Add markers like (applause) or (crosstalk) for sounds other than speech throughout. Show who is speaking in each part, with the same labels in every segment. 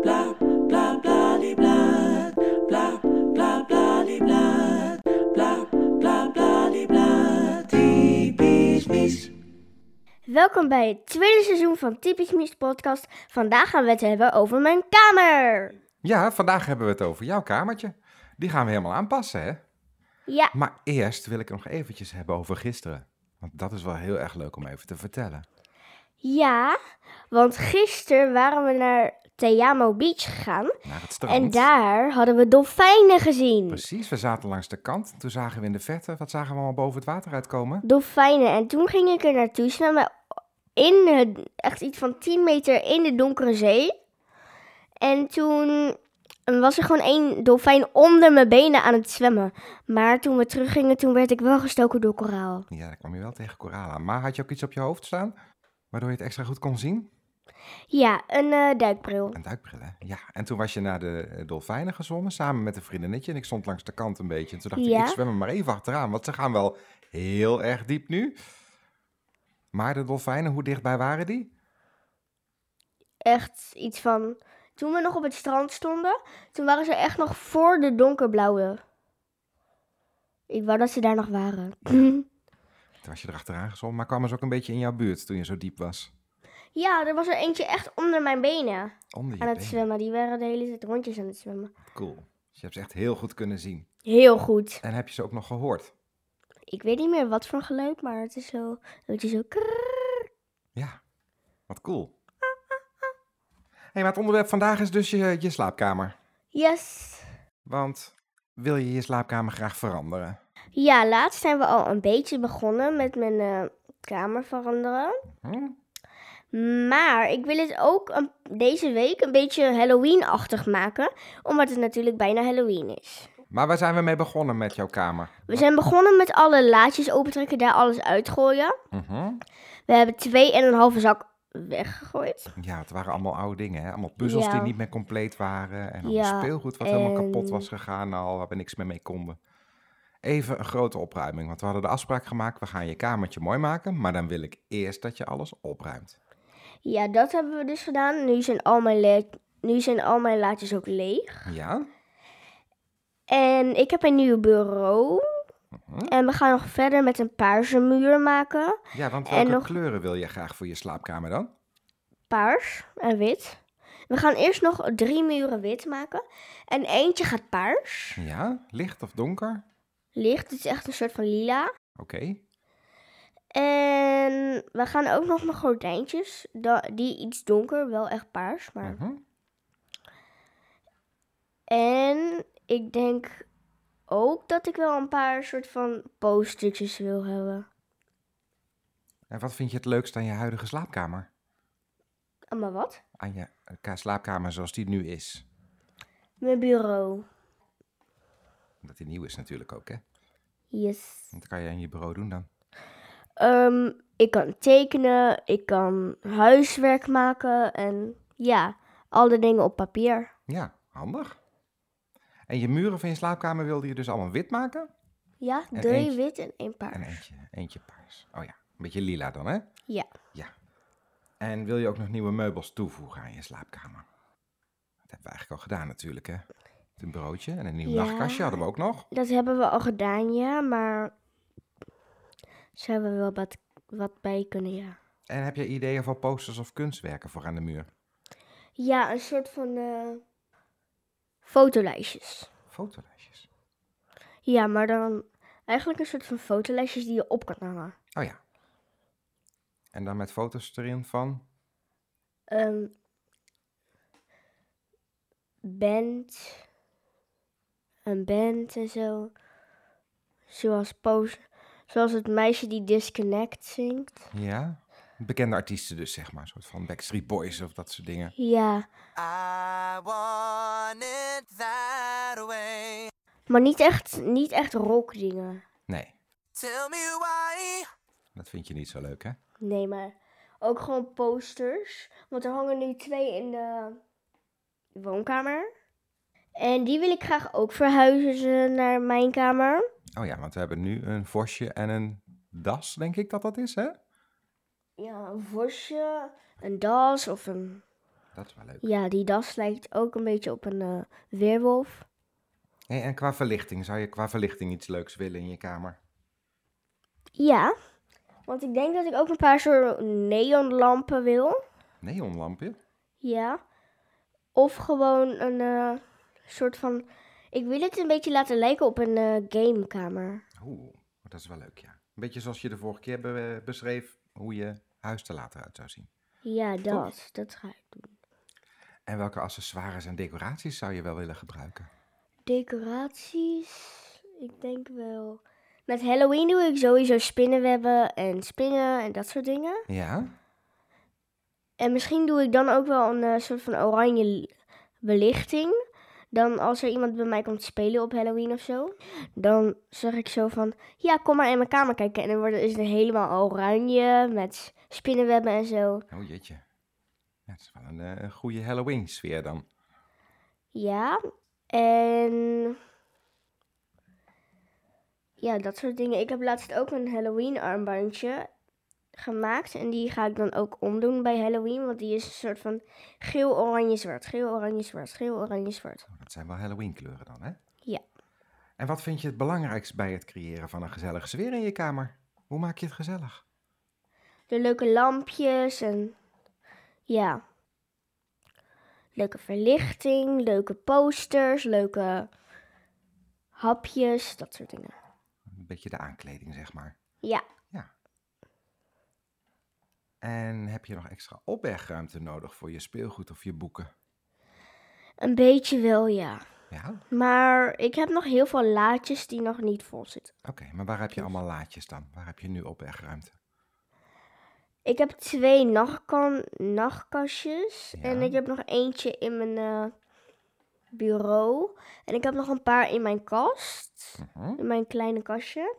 Speaker 1: bla bla bla die bla bla bla bla die bla bla bla bla die bla typisch mis.
Speaker 2: Welkom bij het tweede seizoen van Typisch Mies Podcast. Vandaag gaan we het hebben over mijn kamer.
Speaker 3: Ja, vandaag hebben we het over jouw kamertje. Die gaan we helemaal aanpassen, hè?
Speaker 2: Ja,
Speaker 3: Maar eerst wil ik het nog eventjes hebben over gisteren. Want dat is wel heel erg leuk om even te vertellen.
Speaker 2: ja, want gisteren waren we naar Teamo Beach gegaan.
Speaker 3: Naar het strand.
Speaker 2: En daar hadden we dolfijnen gezien.
Speaker 3: Precies, we zaten langs de kant. Toen zagen we in de verte, wat zagen we allemaal boven het water uitkomen?
Speaker 2: Dolfijnen. En toen ging ik er naartoe zwemmen in het, echt iets van 10 meter in de donkere zee. En toen was er gewoon één dolfijn onder mijn benen aan het zwemmen. Maar toen we teruggingen, toen werd ik wel gestoken door koraal.
Speaker 3: Ja, daar kwam je wel tegen koralen aan. Maar had je ook iets op je hoofd staan, waardoor je het extra goed kon zien?
Speaker 2: Ja, een eh, duikbril.
Speaker 3: Een duikbril, hè? Ja, en toen was je naar de eh, dolfijnen gezwommen, samen met een vriendinnetje. En ik stond langs de kant een beetje. En toen dacht
Speaker 2: Ja.
Speaker 3: ik, ik zwem er maar even achteraan, want ze gaan wel heel erg diep nu. Maar de dolfijnen, hoe dichtbij waren die?
Speaker 2: Echt iets van. Toen we nog op het strand stonden, toen waren ze echt nog voor de donkerblauwe. Ik wou dat ze daar nog waren. (laughs)
Speaker 3: Toen was je er achteraan gezwommen, maar kwamen ze ook een beetje in jouw buurt toen je zo diep was.
Speaker 2: ja, er was er eentje echt onder mijn benen
Speaker 3: Onder je
Speaker 2: aan het
Speaker 3: benen.
Speaker 2: zwemmen. Die waren de hele tijd rondjes aan het zwemmen.
Speaker 3: Cool. Dus je hebt ze echt heel goed kunnen zien.
Speaker 2: Heel goed.
Speaker 3: En heb je ze ook nog gehoord?
Speaker 2: Ik weet niet meer wat voor geluid, maar het is zo. Het is zo. krrrr.
Speaker 3: Ja, wat cool. Hé, hey, maar het onderwerp vandaag is dus je, je slaapkamer.
Speaker 2: Yes.
Speaker 3: Want wil je je slaapkamer graag veranderen?
Speaker 2: Ja, laatst zijn we al een beetje begonnen met mijn eh, kamer veranderen.
Speaker 3: Hm?
Speaker 2: Maar ik wil het ook een- deze week een beetje Halloween-achtig maken, omdat het natuurlijk bijna Halloween is.
Speaker 3: Maar waar zijn we mee begonnen met jouw kamer?
Speaker 2: We zijn begonnen met alle laadjes opentrekken, daar alles uitgooien.
Speaker 3: Mhm.
Speaker 2: We hebben twee en een halve zak weggegooid.
Speaker 3: Ja, het waren allemaal oude dingen. Hè? Allemaal puzzels
Speaker 2: Ja.
Speaker 3: die niet meer compleet waren. En allemaal
Speaker 2: Ja,
Speaker 3: speelgoed wat helemaal kapot
Speaker 2: en-
Speaker 3: was gegaan al, waar we niks meer mee konden. Even een grote opruiming, want we hadden de afspraak gemaakt... we gaan je kamertje mooi maken, maar dan wil ik eerst dat je alles opruimt.
Speaker 2: Ja, dat hebben we dus gedaan. Nu zijn al mijn, le- nu zijn al mijn laadjes ook leeg.
Speaker 3: Ja?
Speaker 2: En ik heb een nieuw bureau.
Speaker 3: Mhm.
Speaker 2: En we gaan nog verder met een paarse muur maken.
Speaker 3: Ja, want
Speaker 2: En
Speaker 3: welke
Speaker 2: nog-
Speaker 3: kleuren wil je graag voor je slaapkamer dan?
Speaker 2: Paars en wit. We gaan eerst nog drie muren wit maken. En eentje gaat paars.
Speaker 3: Ja? Licht of donker?
Speaker 2: licht. Het is echt een soort van lila.
Speaker 3: Oké.
Speaker 2: En we gaan ook nog mijn gordijntjes. da- Die iets donker, wel echt paars. Maar...
Speaker 3: Mhm.
Speaker 2: En ik denk ook dat ik wel een paar soort van postertjes wil hebben.
Speaker 3: En wat vind je het leukst aan je huidige slaapkamer?
Speaker 2: Ah, Maar wat?
Speaker 3: Aan je eh, ka- slaapkamer zoals die nu is.
Speaker 2: Mijn bureau.
Speaker 3: Omdat die nieuw is natuurlijk ook, hè?
Speaker 2: Yes.
Speaker 3: Dat kan je aan je bureau doen dan.
Speaker 2: Ehm, ik kan tekenen, ik kan huiswerk maken en ja, alle dingen op papier.
Speaker 3: Ja, handig. En je muren van je slaapkamer wilde je dus allemaal wit maken?
Speaker 2: Ja,
Speaker 3: En
Speaker 2: drie
Speaker 3: eentje-
Speaker 2: wit en één paars.
Speaker 3: En eentje, eentje paars. Oh ja, een beetje lila dan, hè?
Speaker 2: Ja.
Speaker 3: Ja. En wil je ook nog nieuwe meubels toevoegen aan je slaapkamer? Dat hebben we eigenlijk al gedaan natuurlijk, hè? Met Een broodje en een nieuw
Speaker 2: Ja.
Speaker 3: nachtkastje hadden we ook nog.
Speaker 2: Dat hebben we al gedaan, ja, maar zou we wel wat, wat bij kunnen, ja.
Speaker 3: En heb je ideeën voor posters of kunstwerken voor aan de muur?
Speaker 2: Ja, een soort van eh, fotolijstjes.
Speaker 3: Fotolijstjes.
Speaker 2: Ja, maar dan eigenlijk een soort van fotolijstjes die je op kan hangen.
Speaker 3: Oh ja. En dan met foto's erin van...
Speaker 2: Ehm band. Een band en zo. Zoals, pose, zoals het meisje die Disconnect zingt.
Speaker 3: Ja, bekende artiesten dus, zeg maar. Een soort van Backstreet Boys of dat soort dingen.
Speaker 2: Ja,
Speaker 1: I want it that way.
Speaker 2: maar niet echt, niet echt rockdingen.
Speaker 3: Nee,
Speaker 1: Tell me why.
Speaker 3: dat vind je niet zo leuk, hè?
Speaker 2: Nee, maar ook gewoon posters. Want er hangen nu twee in de woonkamer. En die wil ik graag ook verhuizen naar mijn kamer.
Speaker 3: Oh ja, want we hebben nu een vosje en een das, denk ik dat dat is, hè?
Speaker 2: Ja, een vosje, een das of een
Speaker 3: Dat is wel leuk.
Speaker 2: Ja, die das lijkt ook een beetje op een eh, weerwolf.
Speaker 3: Hey, en qua verlichting, zou je qua verlichting iets leuks willen in je kamer?
Speaker 2: Ja. Want ik denk dat ik ook een paar soort neonlampen wil.
Speaker 3: Neonlampje?
Speaker 2: Ja. Of gewoon een eh, soort van... Ik wil het een beetje laten lijken op een eh, gamekamer.
Speaker 3: Oeh, dat is wel leuk, ja. Een beetje zoals je de vorige keer be- beschreef hoe je huis er later uit zou zien.
Speaker 2: Ja, dat. Dat ga ik doen.
Speaker 3: En welke accessoires en decoraties zou je wel willen gebruiken?
Speaker 2: Decoraties? Ik denk wel... Met Halloween doe ik sowieso spinnenwebben en springen en dat soort dingen.
Speaker 3: Ja?
Speaker 2: En misschien doe ik dan ook wel een eh, soort van oranje l- belichting. Dan als er iemand bij mij komt spelen op Halloween of zo. Dan zeg ik zo van, ja kom maar in mijn kamer kijken. En dan wordt, is het helemaal oranje met spinnenwebben en zo.
Speaker 3: Oh jeetje. Ja, dat is wel een eh, goede Halloween sfeer dan.
Speaker 2: Ja, en... Ja, dat soort dingen. Ik heb laatst ook een Halloween armbandje gemaakt. En die ga ik dan ook omdoen bij Halloween. Want die is een soort van geel-oranje-zwart. Geel-oranje-zwart. Geel-oranje-zwart.
Speaker 3: Oh, dat zijn wel Halloween kleuren dan, hè?
Speaker 2: Ja.
Speaker 3: En wat vind je het belangrijkst bij het creëren van een gezellige sfeer in je kamer? Hoe maak je het gezellig?
Speaker 2: De leuke lampjes en ja. Leuke verlichting, leuke posters, leuke hapjes, dat soort dingen.
Speaker 3: Een beetje de aankleding, zeg maar.
Speaker 2: Ja,
Speaker 3: En heb je nog extra opbergruimte nodig voor je speelgoed of je boeken?
Speaker 2: een beetje wel ja.
Speaker 3: Ja, oké.
Speaker 2: Maar ik heb nog heel veel laadjes die nog niet vol zitten.
Speaker 3: maar waar heb je allemaal laadjes dan? Waar heb je nu opbergruimte?
Speaker 2: Ik heb twee nachtkan- nachtkastjes en
Speaker 3: Ja.
Speaker 2: ik heb nog eentje in mijn eh, bureau. En ik heb nog een paar in mijn kast,
Speaker 3: Mhm.
Speaker 2: in mijn kleine kastje.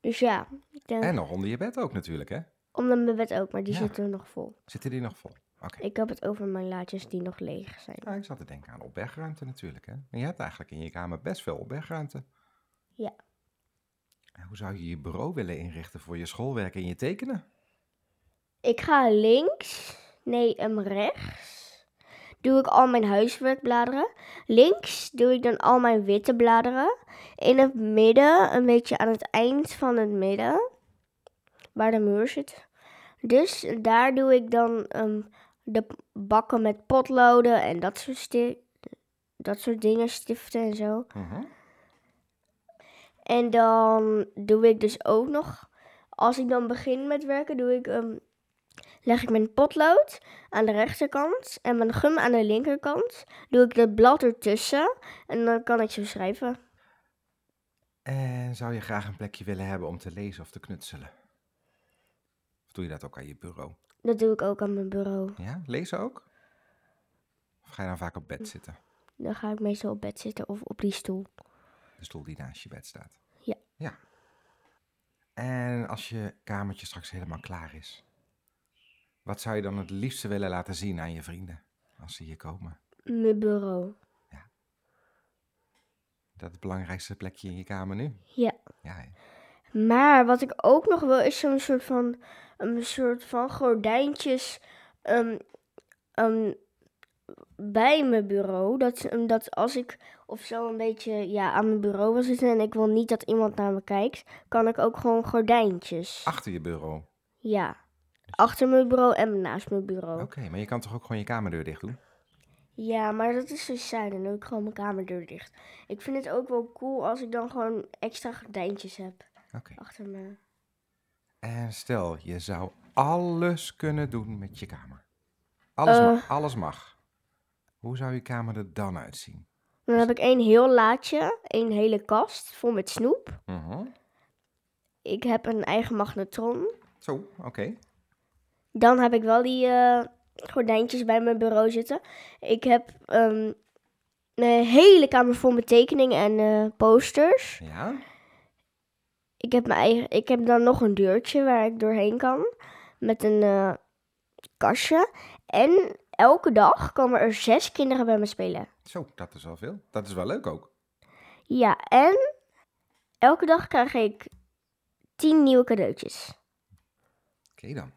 Speaker 2: Dus ja, ik denk...
Speaker 3: En nog onder je bed ook natuurlijk, hè?
Speaker 2: Onder mijn bed ook, maar die
Speaker 3: Ja.
Speaker 2: zitten nog vol.
Speaker 3: Zitten die nog vol? Oké.
Speaker 2: Ik heb het over mijn laadjes die nog leeg zijn.
Speaker 3: Nou, ik zat te denken aan opbergruimte natuurlijk, hè? Maar je hebt eigenlijk in je kamer best veel opbergruimte.
Speaker 2: Ja.
Speaker 3: En hoe zou je je bureau willen inrichten voor je schoolwerk en je tekenen?
Speaker 2: Ik ga links, nee, hem rechts. Doe ik al mijn huiswerkbladeren. Links doe ik dan al mijn witte bladeren. In het midden, een beetje aan het eind van het midden, waar de muur zit. Dus daar doe ik dan ehm, de bakken met potloden en dat soort, sti- dat soort dingen, stiften en zo.
Speaker 3: Mhm.
Speaker 2: En dan doe ik dus ook nog, als ik dan begin met werken, doe ik, ehm, leg ik mijn potlood aan de rechterkant en mijn gum aan de linkerkant. Doe ik het blad ertussen en dan kan ik zo schrijven.
Speaker 3: En zou je graag een plekje willen hebben om te lezen of te knutselen? Of doe je dat ook aan je bureau?
Speaker 2: Dat doe ik ook aan mijn bureau.
Speaker 3: Ja, lezen ook? Of ga je dan vaak op bed zitten?
Speaker 2: Dan ga ik meestal op bed zitten of op die stoel.
Speaker 3: De stoel die naast je bed staat.
Speaker 2: Ja.
Speaker 3: Ja. En als je kamertje straks helemaal klaar is, wat zou je dan het liefste willen laten zien aan je vrienden als ze hier komen?
Speaker 2: Mijn bureau.
Speaker 3: Dat is het belangrijkste plekje in je kamer nu?
Speaker 2: Ja.
Speaker 3: Ja, hè?
Speaker 2: Maar wat ik ook nog wil is zo'n soort van, een soort van gordijntjes ehm, ehm, bij mijn bureau. Dat, ehm, dat als ik of zo een beetje ja, aan mijn bureau wil zitten en ik wil niet dat iemand naar me kijkt, kan ik ook gewoon gordijntjes.
Speaker 3: achter je bureau.
Speaker 2: Ja, achter mijn bureau en naast mijn bureau.
Speaker 3: Oké, maar je kan toch ook gewoon je kamerdeur dicht doen?
Speaker 2: Ja, maar dat is zo saai. Dan doe ik gewoon mijn kamerdeur dicht. Ik vind het ook wel cool als ik dan gewoon extra gordijntjes heb
Speaker 3: Oké.
Speaker 2: achter me.
Speaker 3: En stel, je zou alles kunnen doen met je kamer. Alles,
Speaker 2: Eh.
Speaker 3: mag, alles mag. Hoe zou je kamer er dan uitzien?
Speaker 2: Dan heb ik één heel laadje, één hele kast vol met snoep.
Speaker 3: Mhm.
Speaker 2: Ik heb een eigen magnetron.
Speaker 3: Zo, oké.
Speaker 2: Dan heb ik wel die eh, gordijntjes bij mijn bureau zitten. Ik heb ehm, mijn hele kamer vol met tekeningen en eh, posters.
Speaker 3: Ja?
Speaker 2: Ik heb, mijn eigen, ik heb dan nog een deurtje waar ik doorheen kan. Met een eh, kastje. En elke dag komen er zes kinderen bij me spelen.
Speaker 3: Zo, dat is wel veel. Dat is wel leuk ook.
Speaker 2: Ja, en elke dag krijg ik tien nieuwe cadeautjes.
Speaker 3: Oké dan.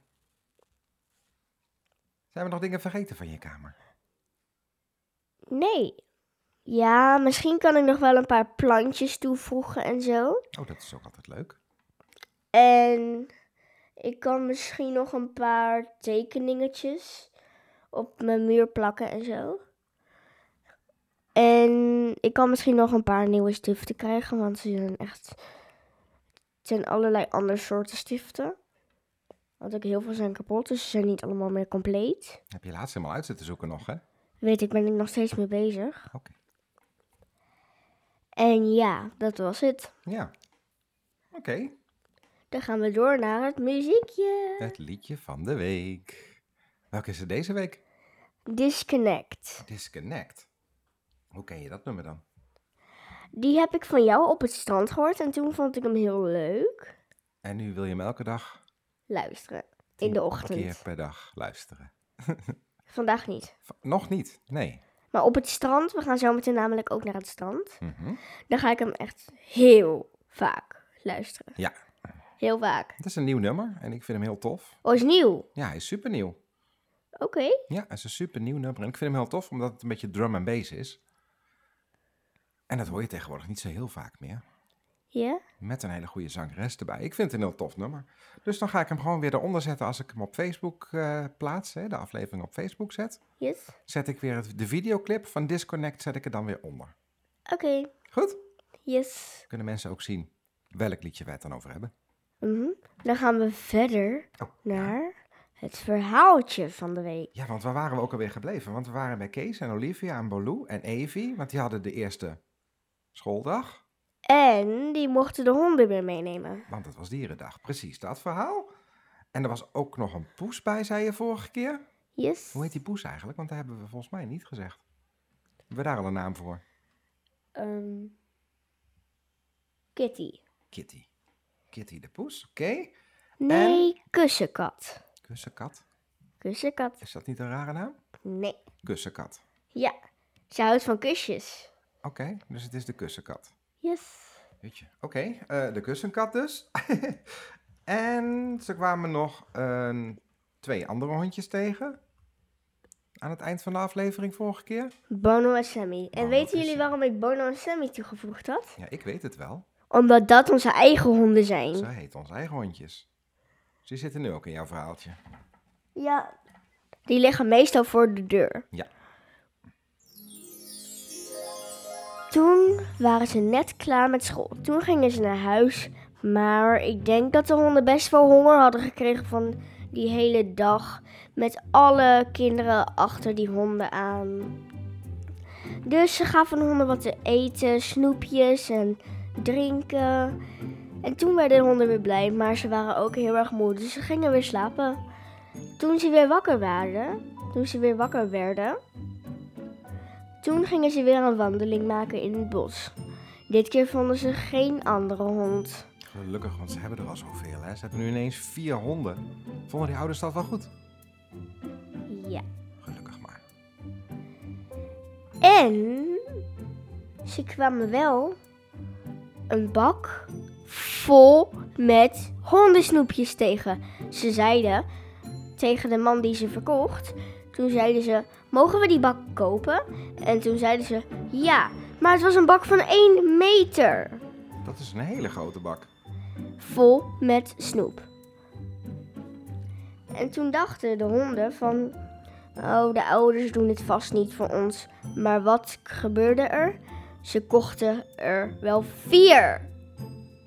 Speaker 3: Zijn we nog dingen vergeten van je kamer?
Speaker 2: Nee. Ja, misschien kan ik nog wel een paar plantjes toevoegen en zo.
Speaker 3: Oh, dat is ook altijd leuk.
Speaker 2: En ik kan misschien nog een paar tekeningetjes op mijn muur plakken en zo. En ik kan misschien nog een paar nieuwe stiften krijgen, want ze zijn echt. Het zijn allerlei andere soorten stiften. Want ook heel veel zijn kapot, dus ze zijn niet allemaal meer compleet.
Speaker 3: Heb je laatst helemaal uit zitten zoeken nog, hè?
Speaker 2: Weet ik, ben ik nog steeds mee bezig.
Speaker 3: Oké.
Speaker 2: En ja, dat was het.
Speaker 3: Ja. Oké,
Speaker 2: Dan gaan we door naar het muziekje.
Speaker 3: het liedje van de week. Welke is er deze week?
Speaker 2: Disconnect.
Speaker 3: Disconnect. Hoe ken je dat nummer dan?
Speaker 2: Die heb ik van jou op het strand gehoord en toen vond ik hem heel leuk.
Speaker 3: En nu wil je hem elke dag
Speaker 2: Luisteren. In de
Speaker 3: tien
Speaker 2: ochtend.
Speaker 3: keer per dag luisteren.
Speaker 2: Vandaag niet.
Speaker 3: V- Nog niet, nee.
Speaker 2: Maar op het strand, we gaan zo meteen namelijk ook naar het strand.
Speaker 3: Mhm.
Speaker 2: Dan ga ik hem echt heel vaak luisteren.
Speaker 3: Ja,
Speaker 2: Heel vaak.
Speaker 3: het is een nieuw nummer en ik vind hem heel tof.
Speaker 2: Oh, is nieuw.
Speaker 3: Ja, hij is super nieuw.
Speaker 2: Oké.
Speaker 3: Ja, het is een super nieuw nummer. En ik vind hem heel tof, omdat het een beetje drum en bass is. En dat hoor je tegenwoordig niet zo heel vaak meer.
Speaker 2: Ja?
Speaker 3: Met een hele goede zangeres erbij. Ik vind het een heel tof nummer. Dus dan ga ik hem gewoon weer eronder zetten als ik hem op Facebook eh, plaats. Hè, de aflevering op Facebook zet.
Speaker 2: Yes.
Speaker 3: Zet ik weer het, de videoclip van Disconnect zet ik er dan weer onder.
Speaker 2: Oké.
Speaker 3: Goed?
Speaker 2: Yes.
Speaker 3: Kunnen mensen ook zien welk liedje wij het dan over hebben.
Speaker 2: Mhm. Dan gaan we verder
Speaker 3: Oh,
Speaker 2: naar het verhaaltje van de week.
Speaker 3: Ja, want waar waren we ook alweer gebleven? Want we waren bij Kees en Olivia en Bolou en Evie. Want die hadden de eerste schooldag.
Speaker 2: En die mochten de honden weer meenemen.
Speaker 3: Want het was dierendag. Precies, dat verhaal. En er was ook nog een poes bij, zei je vorige keer.
Speaker 2: Yes.
Speaker 3: Hoe heet die poes eigenlijk? Want daar hebben we volgens mij niet gezegd. Hebben we daar al een naam voor?
Speaker 2: Ehm, Kitty.
Speaker 3: Kitty. Kitty de poes, oké.
Speaker 2: Nee, kussenkat.
Speaker 3: Kussenkat.
Speaker 2: Kussenkat.
Speaker 3: Is dat niet een rare naam?
Speaker 2: Nee.
Speaker 3: Kussenkat.
Speaker 2: Ja, ze houdt van kusjes.
Speaker 3: Oké, dus het is de kussenkat.
Speaker 2: Yes.
Speaker 3: Weet je. Oké, eh, de kussenkat dus. (laughs) en ze kwamen nog een- twee andere hondjes tegen. Aan het eind van de aflevering vorige keer.
Speaker 2: Bono en Sammy. En
Speaker 3: Bono en
Speaker 2: weten jullie
Speaker 3: Sammy.
Speaker 2: waarom ik Bono en Sammy toegevoegd had?
Speaker 3: Ja, ik weet het wel.
Speaker 2: Omdat dat onze eigen honden zijn.
Speaker 3: Ze heet onze eigen hondjes. Ze zitten nu ook in jouw verhaaltje.
Speaker 2: Ja. Die liggen meestal voor de deur.
Speaker 3: Ja.
Speaker 2: Toen waren ze net klaar met school. Toen gingen ze naar huis. Maar ik denk dat de honden best wel honger hadden gekregen van die hele dag. Met alle kinderen achter die honden aan. Dus ze gaven de honden wat te eten, snoepjes en drinken. En toen werden de honden weer blij, maar ze waren ook heel erg moe. Dus ze gingen weer slapen. Toen ze weer wakker waren, toen ze weer wakker werden, toen gingen ze weer een wandeling maken in het bos. Dit keer vonden ze geen andere hond.
Speaker 3: Gelukkig, want ze hebben er al zoveel. Hè? Ze hebben nu ineens vier honden. Vonden die ouders dat wel goed?
Speaker 2: Ja.
Speaker 3: Gelukkig maar.
Speaker 2: En ze kwamen wel een bak vol met hondensnoepjes tegen. Ze zeiden tegen de man die ze verkocht. Toen zeiden ze: Mogen we die bak kopen? En toen zeiden ze: Ja, maar het was een bak van 1 meter
Speaker 3: Dat is een hele grote bak.
Speaker 2: vol met snoep. En toen dachten de honden van, oh de ouders doen het vast niet voor ons. Maar wat gebeurde er? Ze kochten er wel vier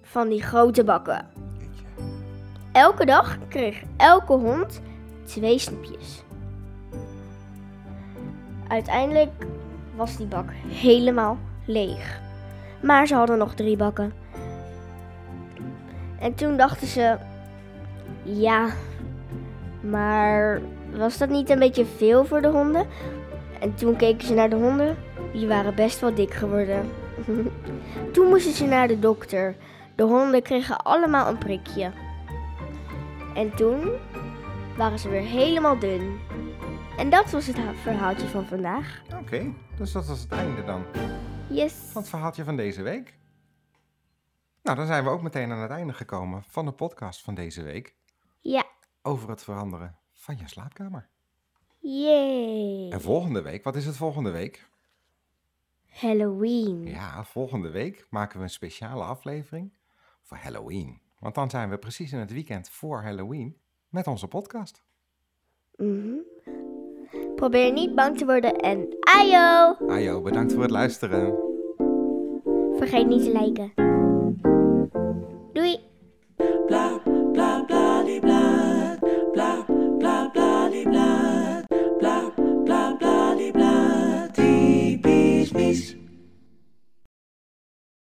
Speaker 2: van die grote bakken.
Speaker 3: Jeetje.
Speaker 2: Elke dag kreeg elke hond twee snoepjes. Uiteindelijk was die bak helemaal leeg. Maar ze hadden nog drie bakken. En toen dachten ze: ja, maar was dat niet een beetje veel voor de honden? En toen keken ze naar de honden, die waren best wel dik geworden. (laughs) toen moesten ze naar de dokter. De honden kregen allemaal een prikje. En toen waren ze weer helemaal dun. En dat was het ha- verhaaltje van vandaag.
Speaker 3: Oké, dus dat was het einde dan
Speaker 2: Yes.
Speaker 3: van het verhaaltje van deze week. Nou, dan zijn we ook meteen aan het einde gekomen van de podcast van deze week.
Speaker 2: Ja,
Speaker 3: Over het veranderen van je slaapkamer.
Speaker 2: Yay.
Speaker 3: En volgende week, wat is het volgende week?
Speaker 2: Halloween.
Speaker 3: Ja, volgende week maken we een speciale aflevering voor Halloween. Want dan zijn we precies in het weekend voor Halloween met onze podcast.
Speaker 2: Mhm. Probeer niet bang te worden en ajo!
Speaker 3: Ajo, bedankt voor het luisteren.
Speaker 2: Vergeet niet te liken.